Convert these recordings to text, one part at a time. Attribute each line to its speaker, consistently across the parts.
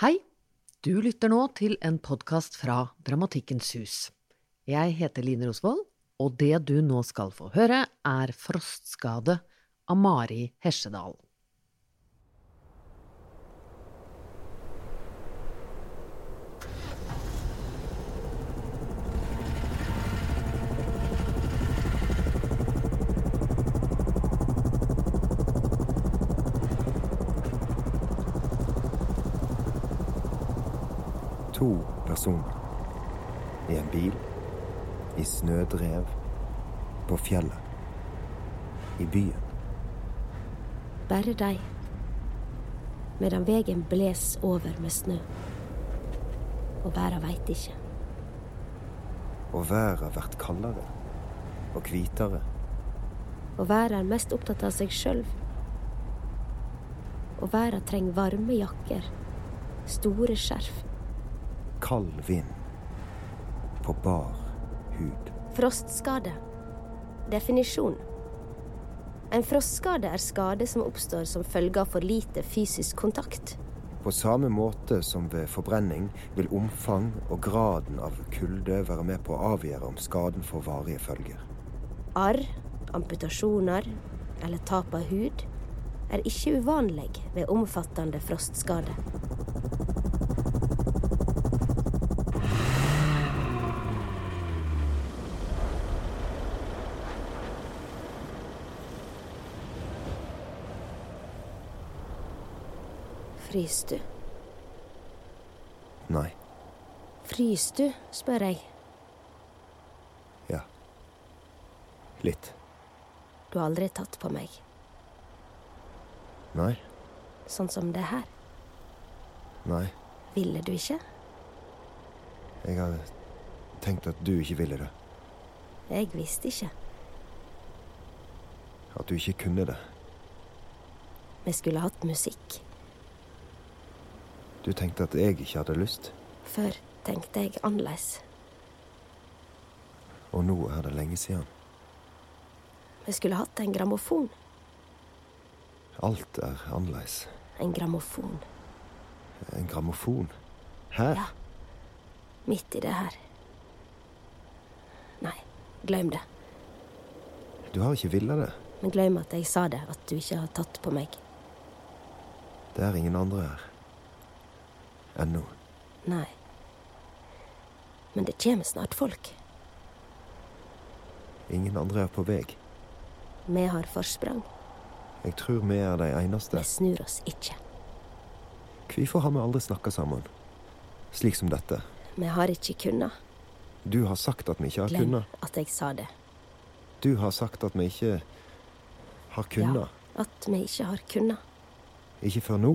Speaker 1: Hei, du lytter nå til en podkast fra Dramatikkens hus. Jeg heter Line Rosvold, og det du nå skal få høre, er Frostskade av Mari Hesjedal.
Speaker 2: To personer. I en bil. I snødrev. På fjellet. I byen.
Speaker 3: bare deg. Medan vegen bles over med snø. Og verda veit ikke.
Speaker 2: Og været har vært kaldere. Og hvitere.
Speaker 3: Og verda er mest opptatt av seg sjøl. Og verda trenger varme jakker. Store skjerf.
Speaker 2: Kald vind. På bar hud.
Speaker 3: Frostskade. Definisjon. En frostskade er skade som oppstår som følge av for lite fysisk kontakt.
Speaker 2: På samme måte som ved forbrenning vil omfang og graden av kulde være med på å avgjøre om skaden får varige følger.
Speaker 3: Arr, amputasjoner eller tap av hud er ikke uvanlig ved omfattende frostskade. Frys du?
Speaker 2: Nei.
Speaker 3: Frys du, spør jeg.
Speaker 2: Ja. Litt.
Speaker 3: Du har aldri tatt på meg,
Speaker 2: Nei.
Speaker 3: sånn som det her.
Speaker 2: Nei.
Speaker 3: Ville du ikke?
Speaker 2: Jeg har tenkt at du ikke ville det.
Speaker 3: Jeg visste ikke.
Speaker 2: At du ikke kunne det.
Speaker 3: Vi skulle hatt musikk.
Speaker 2: Du tenkte at jeg ikke hadde lyst,
Speaker 3: Før tenkte jeg annerledes.
Speaker 2: og nå er det lenge siden.
Speaker 3: Vi skulle hatt en grammofon.
Speaker 2: Alt er annerledes.
Speaker 3: En grammofon.
Speaker 2: En grammofon. Her?
Speaker 3: Ja. Midt i det her. Nei, glem det.
Speaker 2: Du har ikke villet det.
Speaker 3: Men glem at jeg sa det, at du ikke har tatt på meg.
Speaker 2: Det er ingen andre her. Ennå.
Speaker 3: Nei. Men det kommer snart folk.
Speaker 2: Ingen andre er på vei.
Speaker 3: Vi har forsprang.
Speaker 2: Jeg tror vi er de eneste.
Speaker 3: Vi snur oss ikke.
Speaker 2: Hvorfor har vi aldri snakka sammen? Slik som dette.
Speaker 3: Vi har ikke kunnet.
Speaker 2: Du har sagt at vi ikke har
Speaker 3: Glem
Speaker 2: kunnet.
Speaker 3: at jeg sa det.
Speaker 2: Du har sagt at vi ikke har kunnet.
Speaker 3: Ja, at vi ikke har kunnet.
Speaker 2: Ikke før nå.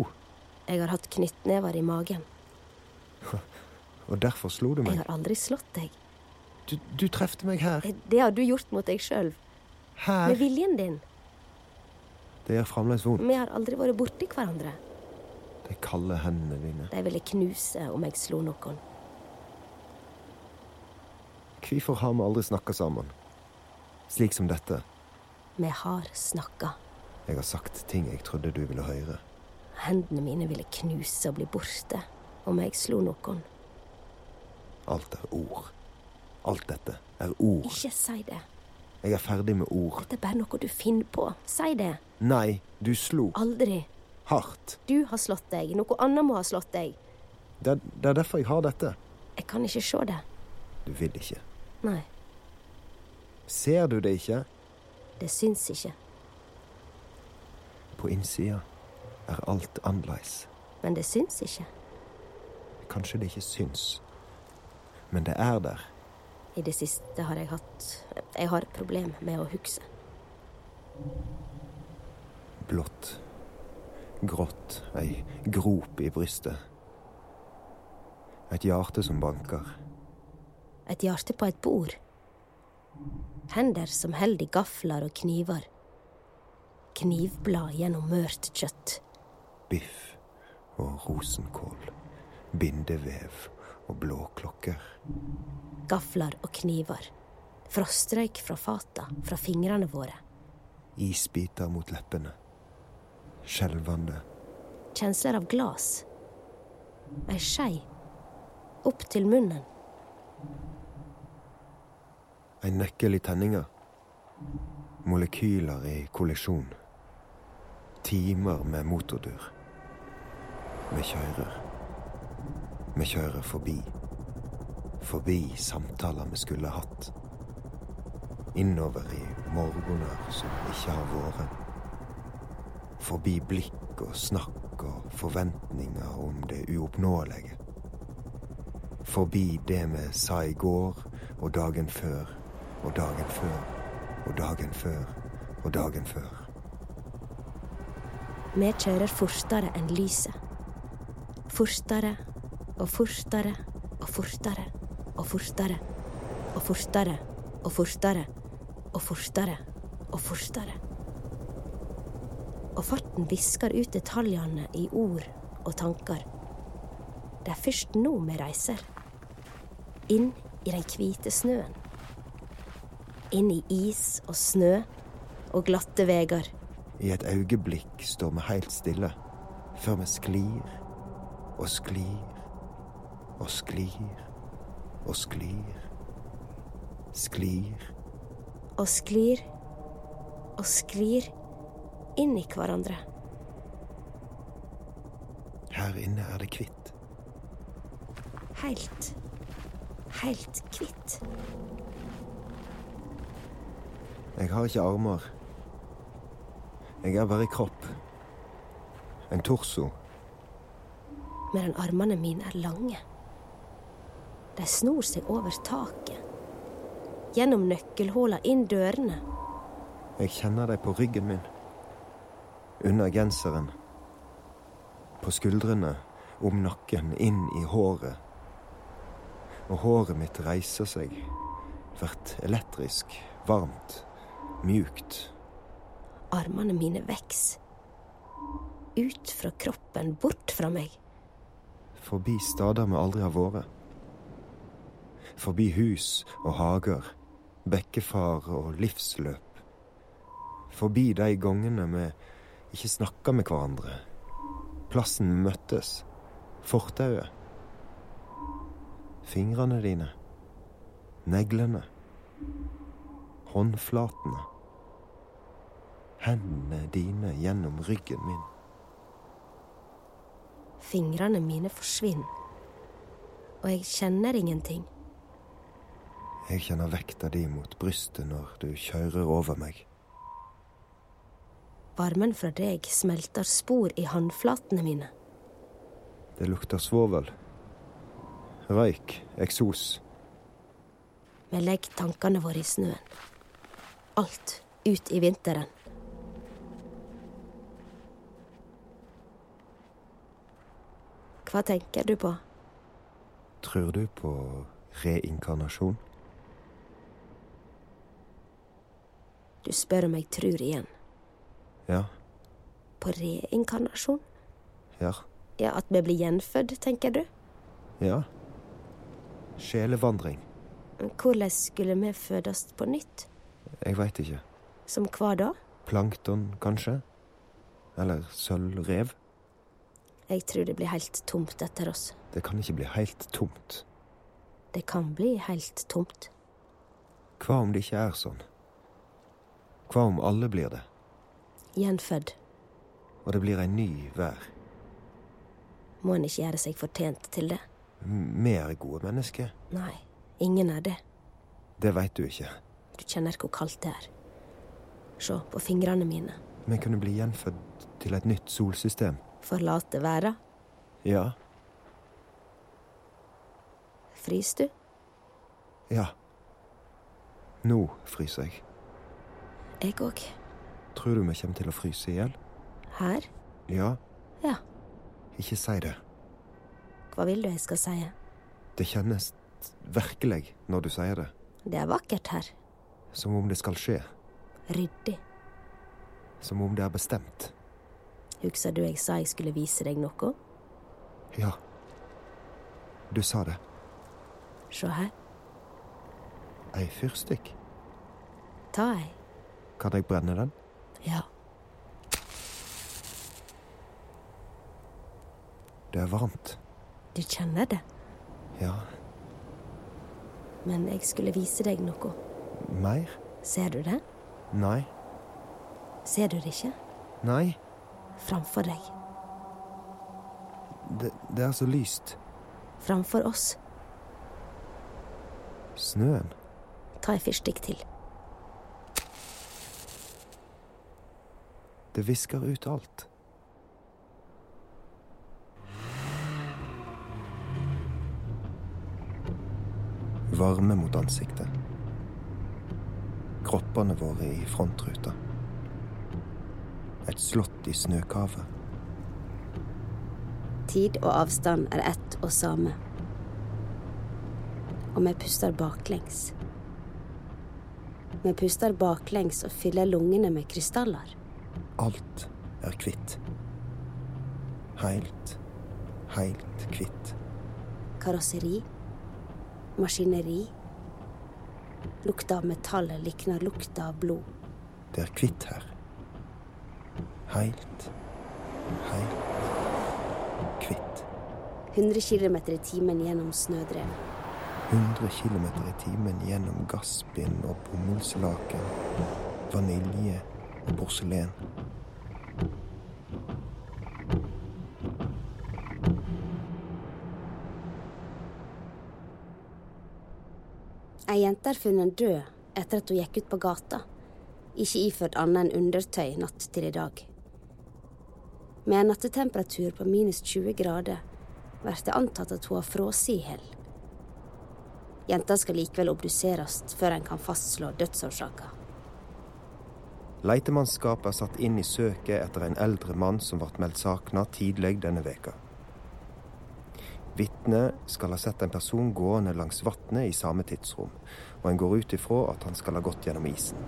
Speaker 3: Jeg har hatt knyttnever i magen.
Speaker 2: Og derfor slo du
Speaker 3: Jeg
Speaker 2: meg.
Speaker 3: har aldri slått deg.
Speaker 2: Du, du trefte meg her.
Speaker 3: Det har du gjort mot deg sjøl. Med
Speaker 2: Her.
Speaker 3: viljen din.
Speaker 2: Det gjør fremdeles vondt.
Speaker 3: Vi har aldri vært borti hverandre.
Speaker 2: De kalde hendene dine.
Speaker 3: De ville knuse om jeg slo noen.
Speaker 2: Hvorfor har vi aldri snakka sammen? Slik som dette.
Speaker 3: Vi har snakka.
Speaker 2: Jeg har sagt ting jeg trodde du ville høre.
Speaker 3: Hendene mine ville knuse og bli borte om jeg slo noen.
Speaker 2: Alt er ord. Alt dette er ord.
Speaker 3: Ikke si det.
Speaker 2: Jeg er ferdig med ord.
Speaker 3: Dette er bare noe du finner på. Si det.
Speaker 2: Nei, du slo
Speaker 3: Aldri.
Speaker 2: hardt.
Speaker 3: Du har slått deg. Noe annet må ha slått deg.
Speaker 2: Det, er- det er derfor jeg har dette.
Speaker 3: Jeg kan ikke se det.
Speaker 2: Du vil ikke.
Speaker 3: Nei,
Speaker 2: Ser du det ikke?
Speaker 3: det syns ikke.
Speaker 2: På innsida er alt annerledes.
Speaker 3: Men det syns ikke.
Speaker 2: Kanskje det ikke syns. Men det er der.
Speaker 3: I det siste har jeg hatt Jeg har problem med å huske.
Speaker 2: Blått. Grått. Ei grop i brystet. Et hjerte som banker.
Speaker 3: Et hjerte på et bord. Hender som holder i gafler og kniver. Knivblad gjennom mørt kjøtt.
Speaker 2: biff og rosenkål, bindevev og blåklokker.
Speaker 3: Gafler og kniver. Frostrøyk fra fata, fra fingrene våre.
Speaker 2: Isbiter mot leppene. Skjelvende.
Speaker 3: Kjensler av glass. ei skei opp til munnen.
Speaker 2: En nøkkel i tenninga. Molekyler i kollisjon. Timer med motordur. Vi kjører. Vi kjører forbi. Forbi samtaler vi skulle hatt. Innover i morgener som ikke har vært. Forbi blikk og snakk og forventninger om det uoppnåelige. Forbi det vi sa i går og dagen før og dagen før og dagen før og dagen før.
Speaker 3: Vi kjører fortere enn lyset. Fortere og fortere og fortere og fortere og fortere og fortere og fortere og fortere. Og farten visker ut detaljene i ord og tanker. Det er først nå vi reiser. Inn i den hvite snøen. Inn i is og snø og glatte veier.
Speaker 2: I et øyeblikk står vi helt stille, før vi sklir og sklir og sklir og sklir. Sklir
Speaker 3: Og sklir og sklir inn i hverandre.
Speaker 2: Her inne er det kvitt.
Speaker 3: Helt, helt kvitt.
Speaker 2: Jeg har ikke armer. Jeg er bare kropp. En torso.
Speaker 3: Medan armene mine er lange. De snor seg over taket. Gjennom nøkkelhullene inn dørene.
Speaker 2: Jeg kjenner dem på ryggen min. Under genseren. På skuldrene. Om nakken. Inn i håret. Og håret mitt reiser seg. Vert elektrisk. Varmt. Mjukt.
Speaker 3: Armene mine veks. Ut fra kroppen, bort fra meg.
Speaker 2: Forbi steder vi aldri har vært. Forbi hus og hager, bekkefar og livsløp. Forbi de gangene vi ikke snakka med hverandre. Plassen vi møttes. Fortauet. Fingrene dine. Neglene. Håndflatene. Hendene dine gjennom ryggen min.
Speaker 3: Fingrene mine forsvinner. Og jeg kjenner ingenting.
Speaker 2: Jeg kjenner vekta di mot brystet når du kjører over meg.
Speaker 3: Varmen fra deg smelter spor i håndflatene mine.
Speaker 2: Det lukter svovel. Røyk. Eksos.
Speaker 3: Vi legger tankene våre i snøen. Alt ut i vinteren. Hva tenker du på?
Speaker 2: Tror du på reinkarnasjon?
Speaker 3: Du spør om jeg tror igjen.
Speaker 2: Ja.
Speaker 3: På reinkarnasjon?
Speaker 2: Ja.
Speaker 3: Ja, At vi blir gjenfødt, tenker du?
Speaker 2: Ja. Sjelevandring.
Speaker 3: Men Hvordan skulle vi fødes på nytt?
Speaker 2: Jeg veit ikke.
Speaker 3: Som hva da?
Speaker 2: Plankton, kanskje? Eller sølvrev?
Speaker 3: Jeg tror det blir helt tomt etter oss.
Speaker 2: Det kan ikke bli helt tomt.
Speaker 3: Det kan bli helt tomt.
Speaker 2: Hva om det ikke er sånn? Hva om alle blir det,
Speaker 3: Gjenfødt.
Speaker 2: og det blir ei ny hver?
Speaker 3: Må en ikke gjøre seg fortjent til det?
Speaker 2: M- Vi er gode mennesker.
Speaker 3: Nei, ingen er det.
Speaker 2: Det veit du ikke.
Speaker 3: Du kjenner hvor kaldt det er. Se på fingrene mine.
Speaker 2: Vi kunne bli gjenfødt til et nytt solsystem.
Speaker 3: Forlate verden.
Speaker 2: Ja.
Speaker 3: Frys du?
Speaker 2: Ja. Nå fryser jeg.
Speaker 3: Jeg òg.
Speaker 2: Tror du vi kommer til å fryse i hjel?
Speaker 3: Her?
Speaker 2: Ja,
Speaker 3: Ja.
Speaker 2: ikke si det.
Speaker 3: Hva vil du jeg skal si?
Speaker 2: Det kjennes virkelig når du sier det.
Speaker 3: Det er vakkert her.
Speaker 2: Som om det skal skje.
Speaker 3: Ryddig.
Speaker 2: Som om det er bestemt.
Speaker 3: Husker du jeg sa jeg skulle vise deg noe?
Speaker 2: Ja. Du sa det.
Speaker 3: Se her.
Speaker 2: Ei fyrstikk.
Speaker 3: Ta ei.
Speaker 2: Kan jeg brenne den?
Speaker 3: Ja.
Speaker 2: Det er varmt.
Speaker 3: Du kjenner det.
Speaker 2: Ja,
Speaker 3: Men jeg skulle vise deg noe.
Speaker 2: mer?
Speaker 3: Ser du det?
Speaker 2: Nei.
Speaker 3: Ser du det ikke?
Speaker 2: Nei,
Speaker 3: Framfor deg.
Speaker 2: det, det er så lyst.
Speaker 3: Framfor oss.
Speaker 2: Snøen.
Speaker 3: Ta ei fyrstikk til.
Speaker 2: Det visker ut alt. Varme mot ansiktet. Kroppene våre i frontruta. Et slott i snøkave.
Speaker 3: Tid og avstand er ett og samme. Og vi puster baklengs. Vi puster baklengs og fyller lungene med krystaller.
Speaker 2: Alt er kvitt. Heilt, heilt kvitt.
Speaker 3: Karosseri. Maskineri. Lukta av metallet likner lukta av blod.
Speaker 2: Det er kvitt her. Heilt, heilt kvitt.
Speaker 3: 100 km i timen gjennom snødrev.
Speaker 2: 100 km i timen gjennom gassbind og bomullslaken, vanilje og porselen.
Speaker 3: Ei jente er funnet død etter at hun gikk ut på gata, ikke iført annet enn undertøy natt til i dag. Med en nattetemperatur på minus 20 grader blir det antatt at hun har frosset i hjel. Jenta skal likevel obduseres før en kan fastslå dødsårsaka.
Speaker 2: Letemannskapet er satt inn i søket etter en eldre mann som ble meldt savna tidlig denne veka. Vitnet skal ha sett en person gående langs vannet i samme tidsrom, og en går ut ifra at han skal ha gått gjennom isen.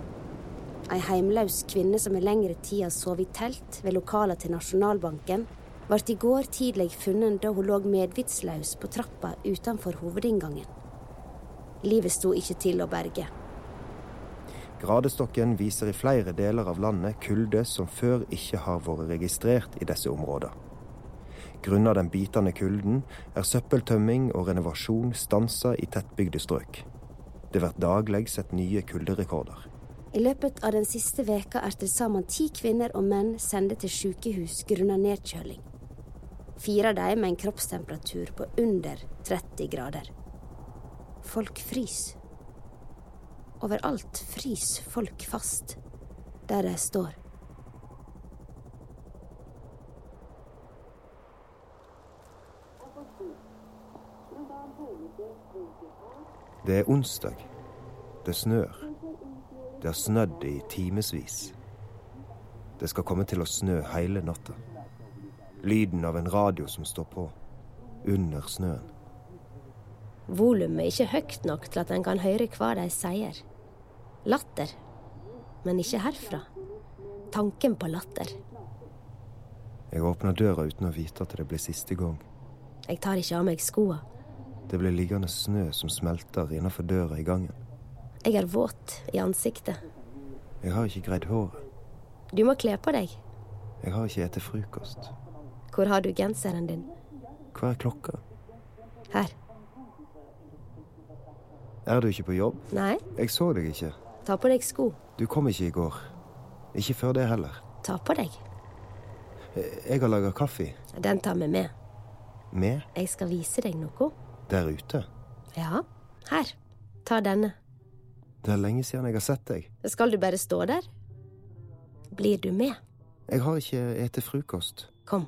Speaker 3: Ei heimløs kvinne som i lengre tid har sovet i telt ved lokaler til Nasjonalbanken, ble i går tidlig funnet da hun lå medvitsløs på trappa utenfor hovedinngangen. Livet sto ikke til å berge.
Speaker 2: Gradestokken viser i flere deler av landet kulde som før ikke har vært registrert i disse områdene. Grunnet den bitende kulden er søppeltømming og renovasjon stansa i tettbygde strøk. Det blir daglig sett nye kulderekorder.
Speaker 3: I løpet av den siste veka er til sammen ti kvinner og menn sendt til sykehus grunnet nedkjøling. Fire av dem med en kroppstemperatur på under 30 grader. Folk fryser. Overalt fryser folk fast, der de står.
Speaker 2: Det er onsdag. Det snør. Det har snødd i timevis. Det skal komme til å snø hele natta. Lyden av en radio som står på. Under snøen.
Speaker 3: Volumet er ikke høyt nok til at en kan høre hva de sier. Latter. Men ikke herfra. Tanken på latter.
Speaker 2: Jeg åpner døra uten å vite at det blir siste gang.
Speaker 3: Jeg tar ikke av meg skoa.
Speaker 2: Det blir liggende snø som smelter innenfor døra i gangen.
Speaker 3: Jeg er våt i ansiktet.
Speaker 2: Jeg har ikke greid håret.
Speaker 3: Du må kle på deg.
Speaker 2: Jeg har ikke spist frokost.
Speaker 3: Hvor har du genseren din?
Speaker 2: Hva er klokka?
Speaker 3: Her.
Speaker 2: Er du ikke på jobb?
Speaker 3: Nei,
Speaker 2: Jeg så deg ikke.
Speaker 3: ta på deg sko.
Speaker 2: Du kom ikke i går. Ikke før det heller.
Speaker 3: Ta på deg.
Speaker 2: Eh, Jeg har laga kaffe.
Speaker 3: Den tar vi med.
Speaker 2: Med.
Speaker 3: Jeg skal vise deg noe.
Speaker 2: Der ute.
Speaker 3: Ja, her. Ta denne.
Speaker 2: Det er lenge siden jeg har sett deg.
Speaker 3: Skal du bare stå der? Blir du med?
Speaker 2: Jeg har ikke spist frokost.
Speaker 3: Kom,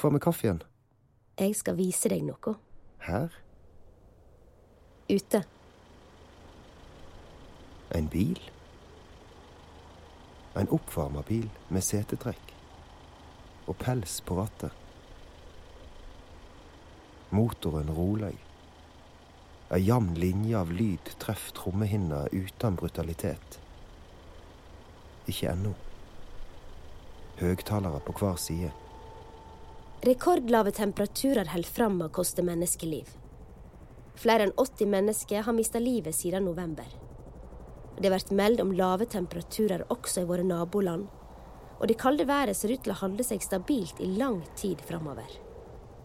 Speaker 2: Hva med kaffen?
Speaker 3: jeg skal vise deg noe.
Speaker 2: Her?
Speaker 3: Ute.
Speaker 2: En bil? En oppvarma bil med setetrekk. Og pels på rattet. Motoren rolig. Ei jevn linje av lyd treffer trommehinna uten brutalitet. Ikke ennå. Høgtalere på hver side.
Speaker 3: Rekordlave temperaturer holder fram med å koste menneskeliv. Flere enn 80 mennesker har mista livet siden november. Det blir meldt om lave temperaturer også i våre naboland, og det kalde været ser ut til å holde seg stabilt i lang tid framover.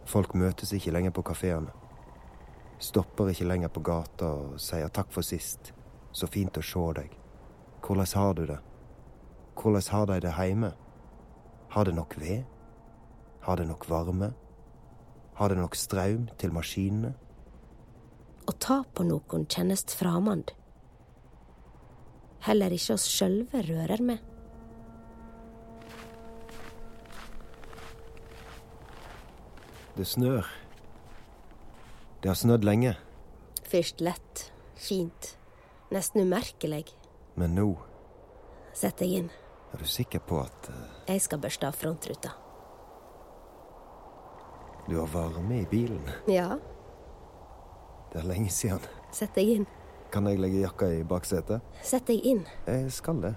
Speaker 2: Folk møtes ikke lenger på kafeene. Stopper ikke lenger på gata og sier takk for sist. Så fint å se deg. Hvordan har du det? Hvordan har de det hjemme? Har det nok ved? Har det nok varme? Har det nok strøm til maskinene?
Speaker 3: Å ta på noen kjennes framand. Heller ikke oss sjølve rører med.
Speaker 2: Det snør. Det har snødd lenge,
Speaker 3: Først lett, fint, nesten umerkelig,
Speaker 2: men nå
Speaker 3: setter jeg inn.
Speaker 2: er du sikker på at eh,
Speaker 3: Jeg skal børste av frontruta.
Speaker 2: du har varme i bilen.
Speaker 3: Ja,
Speaker 2: Det er lenge siden.
Speaker 3: setter jeg inn.
Speaker 2: Kan jeg legge jakka i baksetet?
Speaker 3: Setter jeg inn.
Speaker 2: Jeg skal det.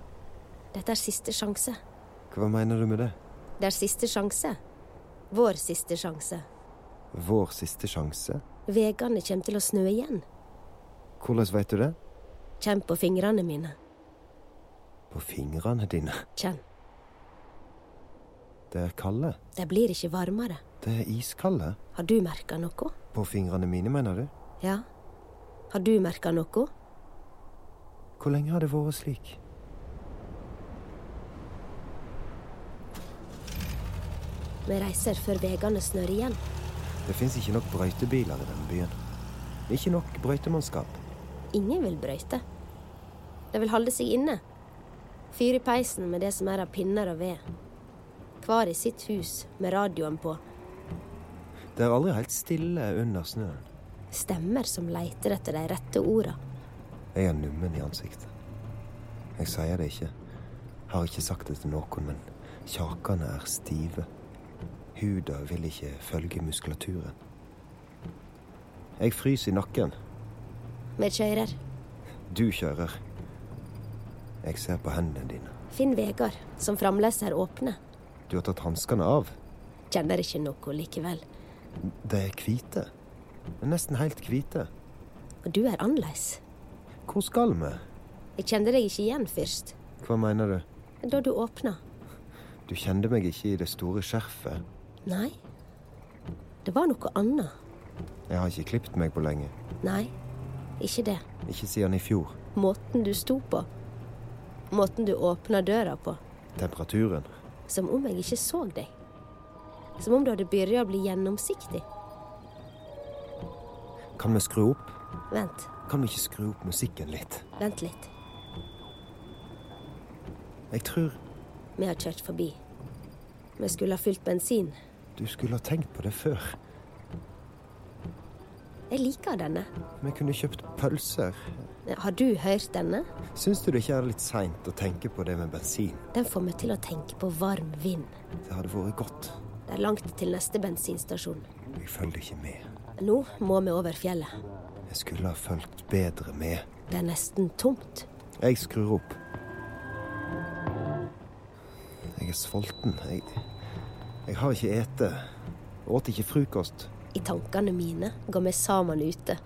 Speaker 3: Dette er siste sjanse.
Speaker 2: Hva mener du med det?
Speaker 3: Det er siste sjanse. Vår siste sjanse.
Speaker 2: Vår siste sjanse?
Speaker 3: Vegene kommer til å snø igjen.
Speaker 2: Hvordan vet du det?
Speaker 3: Kjenn på fingrene mine.
Speaker 2: På fingrene dine.
Speaker 3: Kjenn.
Speaker 2: Det er kalde.
Speaker 3: De blir ikke varmere.
Speaker 2: Det er iskalde.
Speaker 3: Har du merka noe?
Speaker 2: På fingrene mine, mener du?
Speaker 3: Ja. Har du merka noe?
Speaker 2: Hvor lenge har det vært slik?
Speaker 3: Vi reiser før vegene snør igjen.
Speaker 2: Det fins ikke nok brøytebiler i denne byen. Ikke nok brøytemannskap.
Speaker 3: Ingen vil brøyte. De vil holde seg inne. Fyre i peisen med det som er av pinner og ved. Hver i sitt hus med radioen på.
Speaker 2: Det er aldri helt stille under snøen.
Speaker 3: Stemmer som leiter etter de rette orda.
Speaker 2: Jeg er nummen i ansiktet. Jeg sier det ikke. Har ikke sagt det til noen, men kjakene er stive. Huda vil ikke følge muskulaturen. Jeg fryser i nakken.
Speaker 3: Vi kjører.
Speaker 2: Du kjører. Jeg ser på hendene dine.
Speaker 3: Finn vegar som fremdeles er åpne.
Speaker 2: Du har tatt hanskene av.
Speaker 3: Kjenner ikke noe likevel.
Speaker 2: De er hvite. Nesten helt hvite.
Speaker 3: Og du er annerledes.
Speaker 2: Hvor skal vi?
Speaker 3: Jeg kjente deg ikke igjen først.
Speaker 2: Hva mener du?
Speaker 3: Da du åpna.
Speaker 2: Du kjente meg ikke i det store skjerfet.
Speaker 3: Nei. Det var noe annet.
Speaker 2: Jeg har ikke klipt meg på lenge.
Speaker 3: Nei, ikke det.
Speaker 2: Ikke siden i fjor.
Speaker 3: Måten du sto på. Måten du åpna døra på.
Speaker 2: Temperaturen.
Speaker 3: Som om jeg ikke så deg. Som om du hadde begynt å bli gjennomsiktig.
Speaker 2: Kan vi skru opp?
Speaker 3: Vent,
Speaker 2: Kan vi ikke skru opp musikken litt?
Speaker 3: vent litt.
Speaker 2: Jeg tror
Speaker 3: Vi har kjørt forbi. Vi skulle ha fylt bensin.
Speaker 2: du skulle ha tenkt på det før.
Speaker 3: Jeg liker denne.
Speaker 2: Vi kunne kjøpt pølser.
Speaker 3: Har du hørt denne?
Speaker 2: Syns du det ikke er litt seint å tenke på det med bensin?
Speaker 3: Den får meg til å tenke på varm vind.
Speaker 2: Det hadde vært godt.
Speaker 3: Det er langt til neste bensinstasjon.
Speaker 2: Jeg følger ikke med.
Speaker 3: Nå må vi over fjellet.
Speaker 2: Jeg skulle ha fulgt bedre med.
Speaker 3: Det er nesten tomt.
Speaker 2: Jeg skrur opp. Jeg er sulten. Jeg, jeg har ikke ete. Åt ikke frokost.
Speaker 3: I tankene mine går vi sammen ute.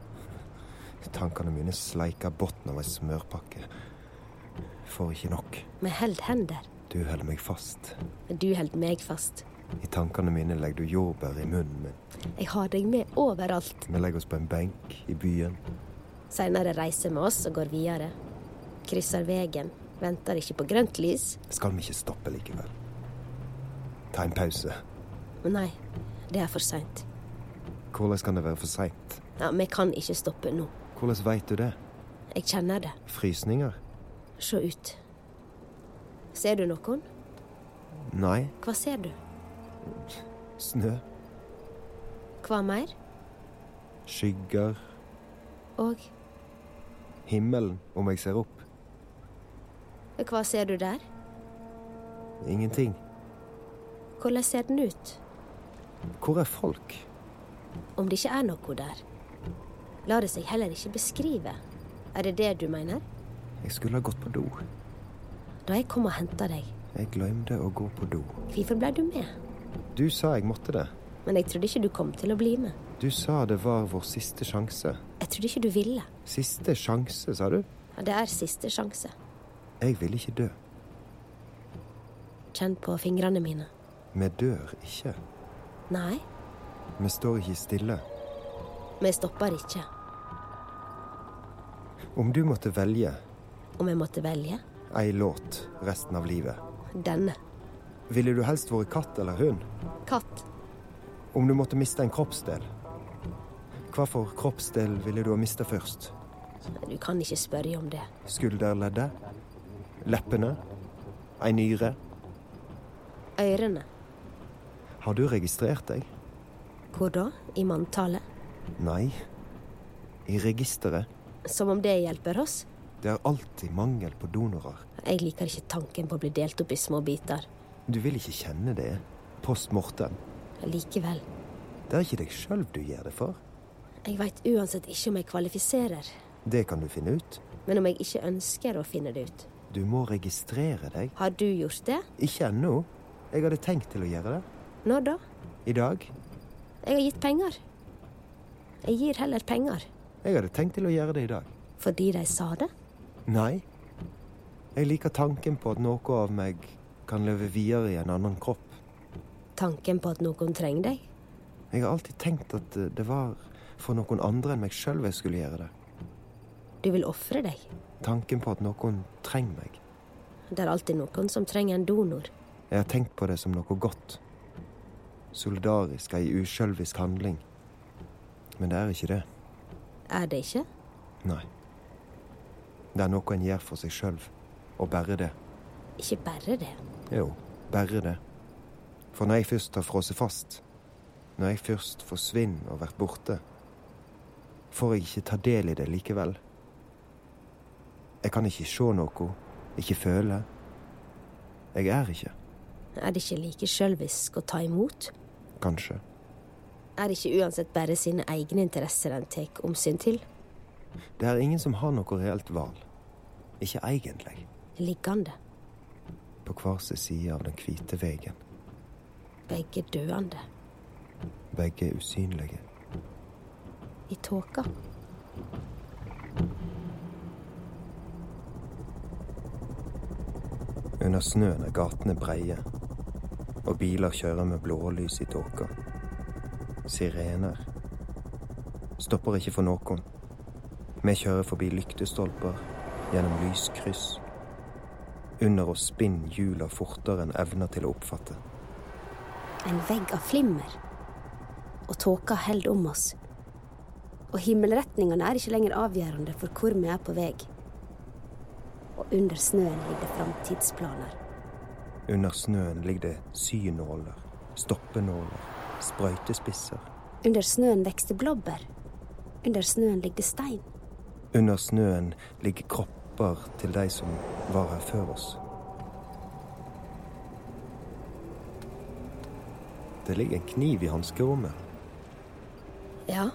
Speaker 2: Tankene mine sleiker bunnen av ei smørpakke. Får ikke nok.
Speaker 3: Vi holder hender,
Speaker 2: Du holder meg fast.
Speaker 3: men du holder meg fast.
Speaker 2: I tankene mine legger du jordbær i munnen min.
Speaker 3: Jeg har deg med overalt.
Speaker 2: Vi legger oss på en benk i byen.
Speaker 3: Seinere reiser vi oss og går videre. Krysser veien. Venter ikke på grønt lys.
Speaker 2: Skal vi ikke stoppe likevel? Ta en pause.
Speaker 3: Men nei, det er for seint.
Speaker 2: Hvordan kan det være for seint?
Speaker 3: Ja, vi kan ikke stoppe nå.
Speaker 2: Hvordan veit du det?
Speaker 3: Jeg kjenner det.
Speaker 2: Frysninger?
Speaker 3: Se ut. Ser du noen?
Speaker 2: Nei.
Speaker 3: Hva ser du?
Speaker 2: Snø?
Speaker 3: Hva mer?
Speaker 2: Skygger?
Speaker 3: Og
Speaker 2: Himmelen, om jeg ser opp?
Speaker 3: hva ser du der?
Speaker 2: Ingenting.
Speaker 3: Hvordan ser den ut?
Speaker 2: Hvor er folk?
Speaker 3: Om det ikke er noe der. Lar det seg heller ikke beskrive. Er det det du mener?
Speaker 2: Jeg skulle ha gått på do.
Speaker 3: Da jeg kom og henta deg,
Speaker 2: Jeg glemte å gå på do.
Speaker 3: hvorfor ble du med?
Speaker 2: Du sa jeg måtte det.
Speaker 3: Men jeg trodde ikke du kom til å bli med.
Speaker 2: Du sa det var vår siste sjanse.
Speaker 3: Jeg trodde ikke du ville.
Speaker 2: Siste sjanse, sa du?
Speaker 3: Ja, det er siste sjanse.
Speaker 2: Jeg vil ikke dø.
Speaker 3: Kjenn på fingrene mine.
Speaker 2: Vi dør ikke.
Speaker 3: Nei,
Speaker 2: Vi står ikke stille.
Speaker 3: Vi stopper ikke.
Speaker 2: Om du måtte velge
Speaker 3: Om jeg måtte velge
Speaker 2: ei låt resten av livet,
Speaker 3: denne.
Speaker 2: ville du helst vært katt eller hund?
Speaker 3: Katt.
Speaker 2: Om du måtte miste en kroppsdel, hva for kroppsdel ville du ha mista først?
Speaker 3: Du kan ikke spørre om det.
Speaker 2: Skulderleddet? Leppene? Ei nyre?
Speaker 3: Ørene.
Speaker 2: Har du registrert deg?
Speaker 3: Hvor da? I manntallet?
Speaker 2: Nei. I registeret.
Speaker 3: Som om det hjelper oss?
Speaker 2: Det er alltid mangel på donorer.
Speaker 3: Jeg liker ikke tanken på å bli delt opp i små biter.
Speaker 2: Du vil ikke kjenne det. Post mortem.
Speaker 3: Likevel.
Speaker 2: Det er ikke deg sjøl du gjør det for.
Speaker 3: Jeg veit uansett ikke om jeg kvalifiserer.
Speaker 2: Det kan du finne ut.
Speaker 3: Men om jeg ikke ønsker å finne det ut.
Speaker 2: Du må registrere deg.
Speaker 3: Har du gjort det?
Speaker 2: Ikke ennå. Jeg hadde tenkt til å gjøre det.
Speaker 3: Når da?
Speaker 2: I dag.
Speaker 3: Jeg har gitt penger. Jeg gir heller penger.
Speaker 2: Jeg hadde tenkt til å gjøre det i dag.
Speaker 3: Fordi de sa det?
Speaker 2: Nei. Jeg liker tanken på at noe av meg kan leve videre i en annen kropp.
Speaker 3: Tanken på at noen trenger deg?
Speaker 2: Jeg har alltid tenkt at eh, det var for noen andre enn meg sjøl jeg skulle gjøre det.
Speaker 3: Du vil ofre deg?
Speaker 2: Tanken på at noen trenger meg.
Speaker 3: Det er alltid noen som trenger en donor.
Speaker 2: Jeg har tenkt på det som noe godt. Solidarisk, ei usjølvisk handling. Men det er ikke det.
Speaker 3: Er det ikke?
Speaker 2: Nei. Det er noe en gjør for seg sjøl. Og bare det.
Speaker 3: Ikke bare det.
Speaker 2: Jo, bare det. For når jeg først har frosset fast, når jeg først forsvinner og vært borte, får jeg ikke ta del i det likevel. Jeg kan ikke se noe, ikke føle. Jeg er ikke,
Speaker 3: Er det ikke like sjølvisk å ta imot?
Speaker 2: kanskje.
Speaker 3: Er det ikke uansett bare sine egne interesser en tar omsyn til?
Speaker 2: Det er ingen som har noe reelt valg. Ikke egentlig.
Speaker 3: Liggende,
Speaker 2: På hver sin side av den hvite veien.
Speaker 3: begge døende,
Speaker 2: Begge er usynlige.
Speaker 3: i tåka.
Speaker 2: Under snøen er gatene breie. Og biler kjører med blålys i tåka. Sirener. Stopper ikke for noen. Vi kjører forbi lyktestolper, gjennom lyskryss. Under oss spinner hjula fortere enn evner til å oppfatte.
Speaker 3: En vegg av flimmer. Og tåka holder om oss. Og himmelretningene er ikke lenger avgjørende for hvor vi er på vei. Og under snøen ligger det framtidsplaner.
Speaker 2: Under snøen ligger det synåler, stoppenåler, sprøytespisser.
Speaker 3: Under snøen vokser det blåbær. Under snøen ligger det stein.
Speaker 2: Under snøen ligger kropper til de som var her før oss. Det ligger en kniv i hanskerommet.
Speaker 3: Ja,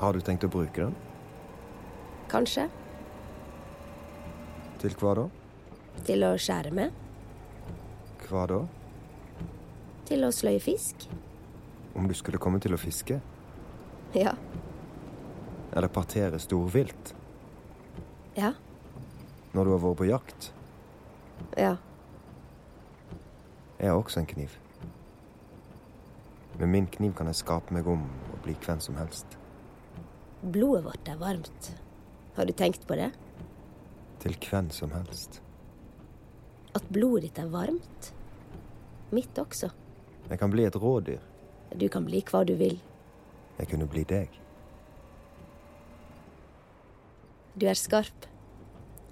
Speaker 2: Har du tenkt å bruke den?
Speaker 3: kanskje.
Speaker 2: Til hva da?
Speaker 3: Til å skjære med.
Speaker 2: Hva da?
Speaker 3: Til å sløye fisk.
Speaker 2: Om du skulle komme til å fiske?
Speaker 3: Ja.
Speaker 2: Eller partere storvilt?
Speaker 3: Ja.
Speaker 2: Når du har vært på jakt?
Speaker 3: Ja.
Speaker 2: Jeg har også en kniv. Med min kniv kan jeg skape meg om og bli hvem som helst.
Speaker 3: Blodet vårt er varmt. Har du tenkt på det?
Speaker 2: Til hvem som helst.
Speaker 3: At blodet ditt er varmt? Mitt også.
Speaker 2: Jeg kan bli et rådyr.
Speaker 3: Du kan bli hva du vil.
Speaker 2: Jeg kunne bli deg.
Speaker 3: Du er skarp.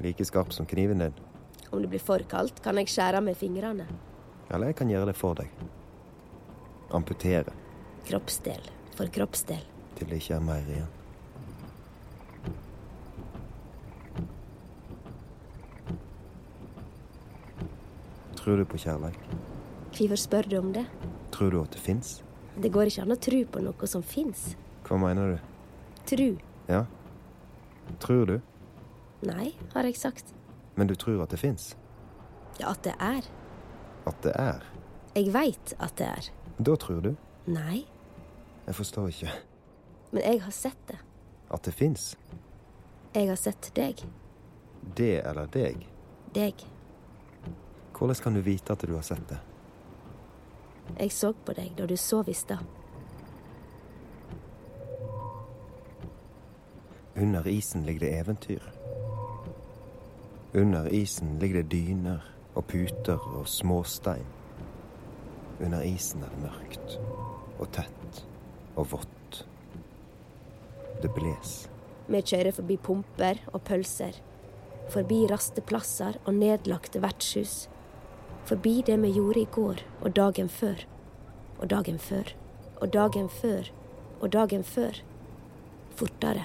Speaker 2: Like skarp som kniven din.
Speaker 3: Om det blir for kaldt, kan jeg skjære med fingrene.
Speaker 2: Eller jeg kan gjøre det for deg. Amputere
Speaker 3: Kroppsdel for kroppsdel.
Speaker 2: til det ikke er mer igjen. Tror du på kjærleik?
Speaker 3: Hvorfor spør du om det?
Speaker 2: Tror du at det fins?
Speaker 3: Det går ikke an å tru på noe som fins.
Speaker 2: Hva mener du?
Speaker 3: Tru.
Speaker 2: Ja? Tror du?
Speaker 3: Nei, har jeg sagt.
Speaker 2: Men du tror at det fins?
Speaker 3: Ja, at det er.
Speaker 2: At det er?
Speaker 3: Jeg veit at det er.
Speaker 2: Da tror du?
Speaker 3: Nei,
Speaker 2: Jeg forstår ikke.
Speaker 3: men jeg har sett det.
Speaker 2: At det fins?
Speaker 3: Jeg har sett deg.
Speaker 2: Det eller deg?
Speaker 3: Deg.
Speaker 2: Hvordan kan du vite at du har sett det?
Speaker 3: Jeg så på deg da du sov i stad.
Speaker 2: Under isen ligger det eventyr. Under isen ligger det dyner og puter og småstein. Under isen er det mørkt og tett og vått. Det bles.
Speaker 3: Vi kjører forbi pumper og pølser. Forbi rasteplasser og nedlagte vertshus. Forbi det vi gjorde i går og dagen før. Og dagen før. Og dagen før. Og dagen før. Fortere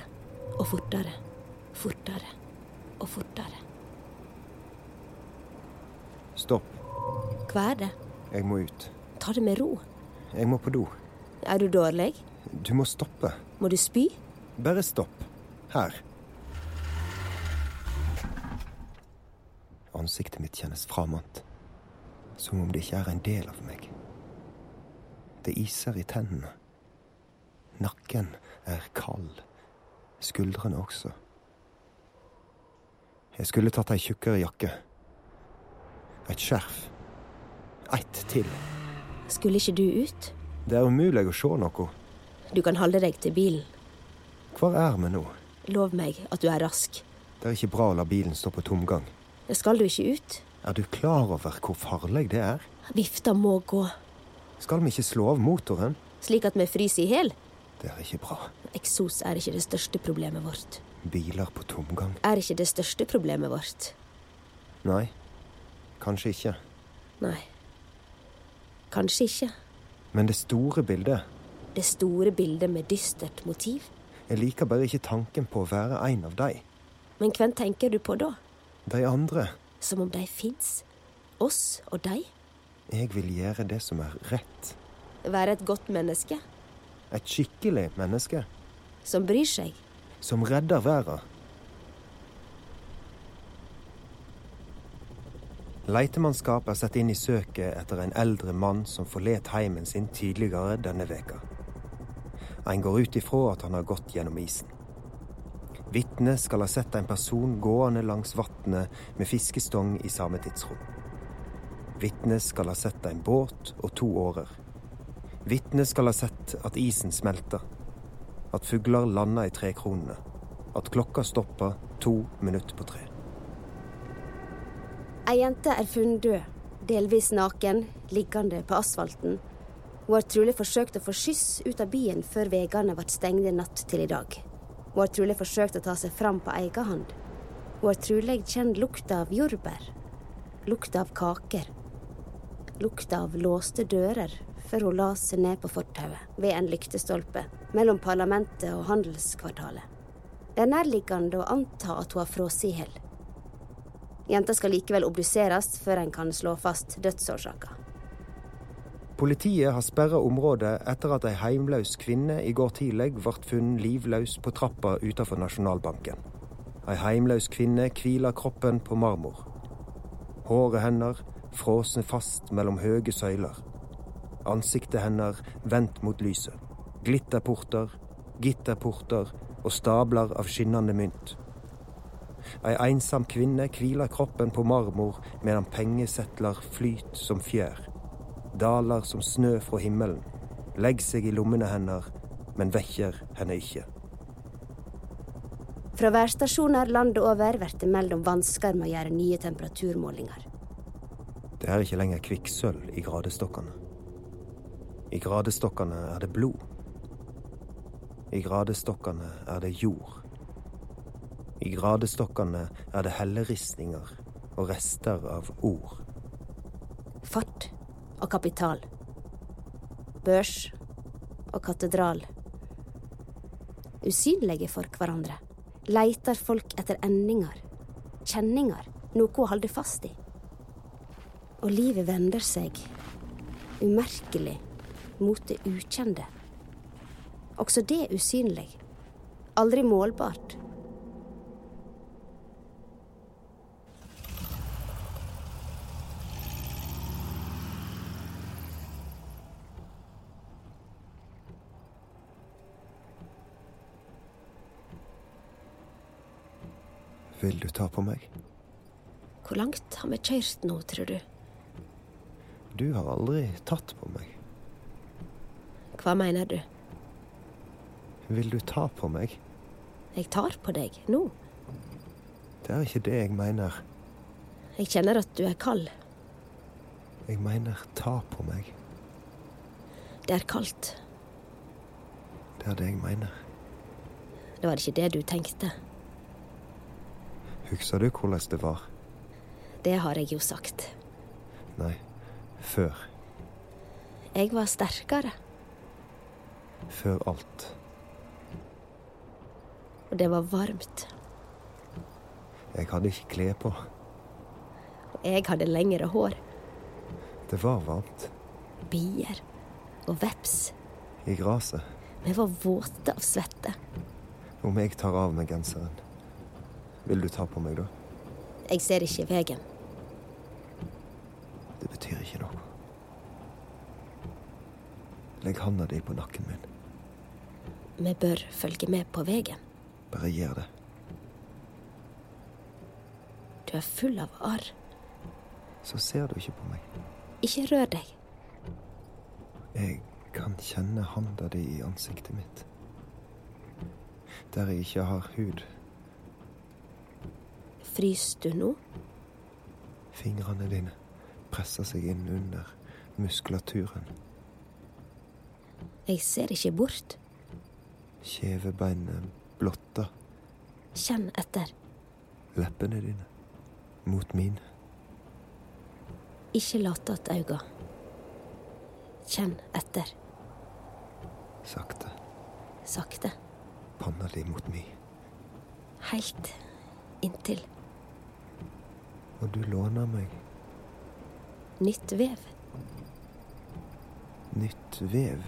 Speaker 3: og fortere. Fortere og fortere.
Speaker 2: Stopp.
Speaker 3: Hva er det?
Speaker 2: Jeg må ut.
Speaker 3: Ta det med ro.
Speaker 2: Jeg må på do.
Speaker 3: Er du dårlig?
Speaker 2: Du må stoppe.
Speaker 3: Må du spy?
Speaker 2: Bare stopp. Her. Ansiktet mitt kjennes framant. Som om det ikke er en del av meg. Det iser i tennene. Nakken er kald. Skuldrene også. Jeg skulle tatt ei tjukkere jakke. Et skjerf. Ett til.
Speaker 3: Skulle ikke du ut?
Speaker 2: Det er umulig å se noe.
Speaker 3: Du kan holde deg til bilen.
Speaker 2: Hvor er vi nå?
Speaker 3: Lov meg at du er rask.
Speaker 2: Det er ikke bra å la bilen stå på tomgang.
Speaker 3: Skal du ikke ut?
Speaker 2: Er du klar over hvor farlig det er?
Speaker 3: Vifta må gå,
Speaker 2: Skal vi ikke slå av motoren?
Speaker 3: slik at vi fryser i hjel.
Speaker 2: Det er ikke bra.
Speaker 3: Eksos er ikke det største problemet vårt.
Speaker 2: Biler på tomgang.
Speaker 3: Er ikke det største problemet vårt.
Speaker 2: Nei, kanskje ikke.
Speaker 3: Nei. Kanskje ikke.
Speaker 2: Men det store bildet
Speaker 3: Det store bildet med dystert motiv.
Speaker 2: Jeg liker bare ikke tanken på å være en av de.
Speaker 3: Men hvem tenker du på da?
Speaker 2: De andre.
Speaker 3: Som om de fins? Oss og de?
Speaker 2: Jeg vil gjøre det som er rett.
Speaker 3: Være et godt menneske?
Speaker 2: Et skikkelig menneske.
Speaker 3: Som bryr seg?
Speaker 2: Som redder verden. Leitemannskap er satt inn i søket etter en eldre mann som forlet heimen sin tidligere denne veka. En går ut ifra at han har gått gjennom isen. Vitnet skal ha sett en person gående langs vannet med fiskestong i samme tidsrom. Vitnet skal ha sett en båt og to årer. Vitnet skal ha sett at isen smelter. At fugler lander i trekronene. At klokka stopper to minutter på tre.
Speaker 4: Ei jente er funnet død, delvis naken, liggende på asfalten. Hun har trolig forsøkt å få skyss ut av byen før veiene ble stengte natt til i dag. Hun har trolig forsøkt å ta seg fram på egen hånd. Hun har trolig kjent lukta av jordbær, lukta av kaker, lukta av låste dører før hun la seg ned på fortauet ved en lyktestolpe mellom parlamentet og handelskvartalet. Det er nærliggende å anta at hun har frosset i hjel. Jenta skal likevel obduseres før en kan slå fast dødsårsaka.
Speaker 2: Politiet har sperra området etter at ei heimløs kvinne i går tidlig ble funnet livløs på trappa utenfor Nasjonalbanken. Ei heimløs kvinne hviler kroppen på marmor. Håret hennes frosne fast mellom høye søyler. Ansiktet hennes vendt mot lyset. Glitterporter, gitterporter og stabler av skinnende mynt. Ei ensom kvinne hviler kroppen på marmor medan pengesetler flyter som fjær. Daler som snø fra himmelen. Legger seg i lommene hennes, men vekker henne ikke.
Speaker 4: Fra værstasjoner landet over blir det mellom vansker med å gjøre nye temperaturmålinger.
Speaker 2: Det er ikke lenger kvikksølv i gradestokkene. I gradestokkene er det blod. I gradestokkene er det jord. I gradestokkene er det helleristninger og rester av ord.
Speaker 3: Fart.
Speaker 4: og kapital. Børs og katedral. Usynlige for hverandre. Leiter folk etter endinger, kjenninger, noe å holde fast i. Og livet vender seg, umerkelig, mot det ukjente. Også det usynlig. Aldri målbart.
Speaker 2: Vil du ta på meg?
Speaker 3: Hvor langt har vi kjørt nå, tror du?
Speaker 2: Du har aldri tatt på meg.
Speaker 3: Hva mener du?
Speaker 2: Vil du ta på meg?
Speaker 3: Jeg tar på deg nå.
Speaker 2: Det er ikke det jeg mener.
Speaker 3: Jeg kjenner at du er kald.
Speaker 2: Jeg mener ta på meg.
Speaker 3: Det er kaldt.
Speaker 2: Det er det jeg mener.
Speaker 3: Det var ikke det du tenkte.
Speaker 2: Husker du hvordan det var?
Speaker 3: Det har jeg jo sagt.
Speaker 2: Nei, før.
Speaker 3: Jeg var sterkere,
Speaker 2: Før alt.
Speaker 3: og det var varmt.
Speaker 2: Jeg hadde ikke klær på.
Speaker 3: Og jeg hadde lengre hår,
Speaker 2: Det var varmt.
Speaker 3: bier og veps.
Speaker 2: I gresset.
Speaker 3: Vi var våte av svette.
Speaker 2: Om jeg tar av meg genseren. Vil du ta på meg, da?
Speaker 3: Jeg ser ikke veien.
Speaker 2: Det betyr ikke noe. Legg handa di på nakken min.
Speaker 3: Vi bør følge med på veien.
Speaker 2: Bare gjør det.
Speaker 3: Du er full av arr.
Speaker 2: Så ser du ikke på meg.
Speaker 3: Ikke rør deg.
Speaker 2: Jeg kan kjenne handa di i ansiktet mitt. Der jeg ikke har hud.
Speaker 3: Frys du nå?
Speaker 2: Fingrene dine presser seg inn under muskulaturen.
Speaker 3: Jeg ser ikke bort.
Speaker 2: Kjevebeinet blotter
Speaker 3: Kjenn etter.
Speaker 2: leppene dine mot mine.
Speaker 3: Ikke lat att auga. Kjenn etter.
Speaker 2: Sakte.
Speaker 3: Sakte.
Speaker 2: Panna di mot mi.
Speaker 3: Helt inntil.
Speaker 2: Og du låner meg
Speaker 3: Nytt vev
Speaker 2: nytt vev.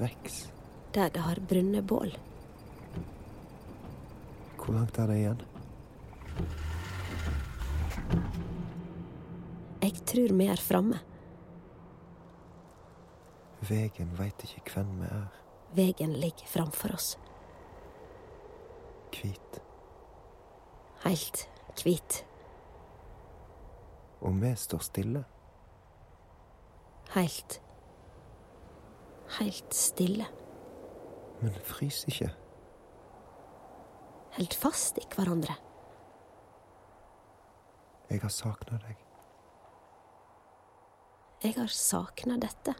Speaker 2: Veks.
Speaker 3: der det har brunnet bål.
Speaker 2: Hvor langt er det igjen?
Speaker 3: Jeg tror vi er framme.
Speaker 2: Vegen veit ikke hvem vi er.
Speaker 3: Veien ligger framfor oss.
Speaker 2: Hvit.
Speaker 3: Helt hvit.
Speaker 2: Og vi står stille.
Speaker 3: Helt Helt stille.
Speaker 2: Men frys ikke.
Speaker 3: Helt fast i hverandre.
Speaker 2: Jeg har savna deg.
Speaker 3: Jeg har savna dette.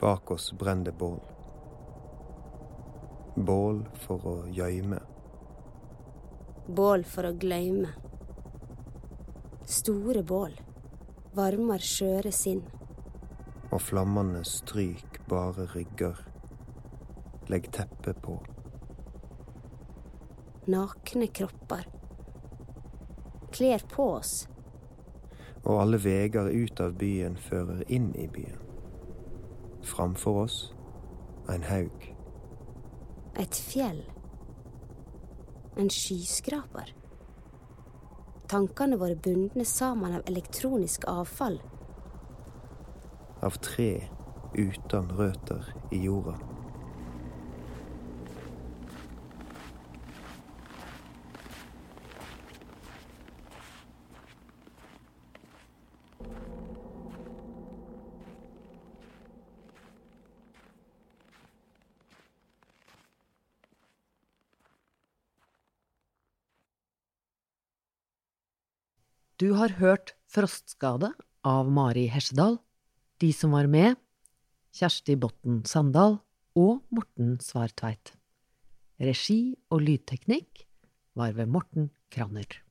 Speaker 2: Bak oss brenner det bål. Bål for å gjøyme.
Speaker 4: Bål for å glemme. Store bål. Varmer skjøre sinn.
Speaker 2: Og flammene stryk bare rygger. Legg teppet på.
Speaker 4: Nakne kropper. Klær på oss.
Speaker 2: Og alle veger ut av byen fører inn i byen. Framfor oss en haug.
Speaker 4: Et fjell. En skyskraper. Tankene våre bundne sammen av elektronisk avfall.
Speaker 2: Av tre uten røtter i jorda.
Speaker 1: Du har hørt Frostskade av Mari Hesjedal. De som var med, Kjersti Botten Sandal og Morten Svartveit. Regi og lydteknikk var ved Morten Kranner.